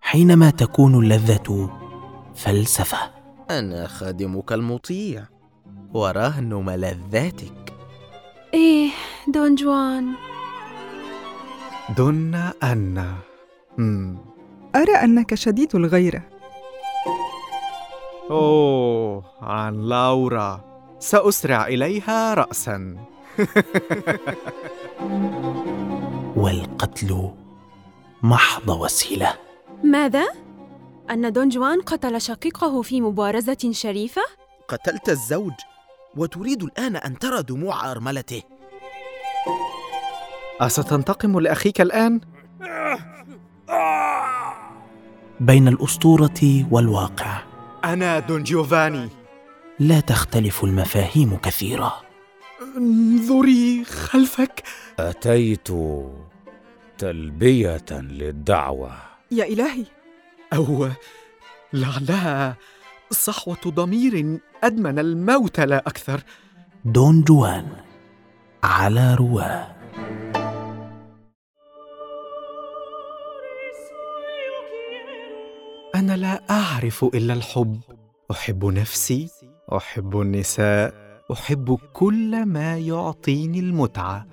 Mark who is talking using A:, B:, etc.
A: حينما تكون اللذه فلسفه
B: انا خادمك المطيع ورهن ملذاتك
C: إيه دون جوان
B: دنا أنا مم.
D: أرى أنك شديد الغيرة
E: أوه عن لورا سأسرع إليها رأسا
A: والقتل محض وسيله
C: ماذا؟ أن دون جوان قتل شقيقه في مبارزة شريفة؟
B: قتلت الزوج وتريد الآن أن ترى دموع أرملته
E: أستنتقم لأخيك الآن؟
A: بين الاسطوره والواقع
E: أنا دون جيوفاني
A: لا تختلف المفاهيم كثيره
E: انظري خلفك
F: أتيت تلبية للدعوة
D: يا إلهي
E: أو لعلها صحوة ضمير أدمن الموت لا أكثر
A: دون جوان على رواه
E: أنا لا أعرف إلا الحب أحب نفسي أحب النساء أحب كل ما يعطيني المتعة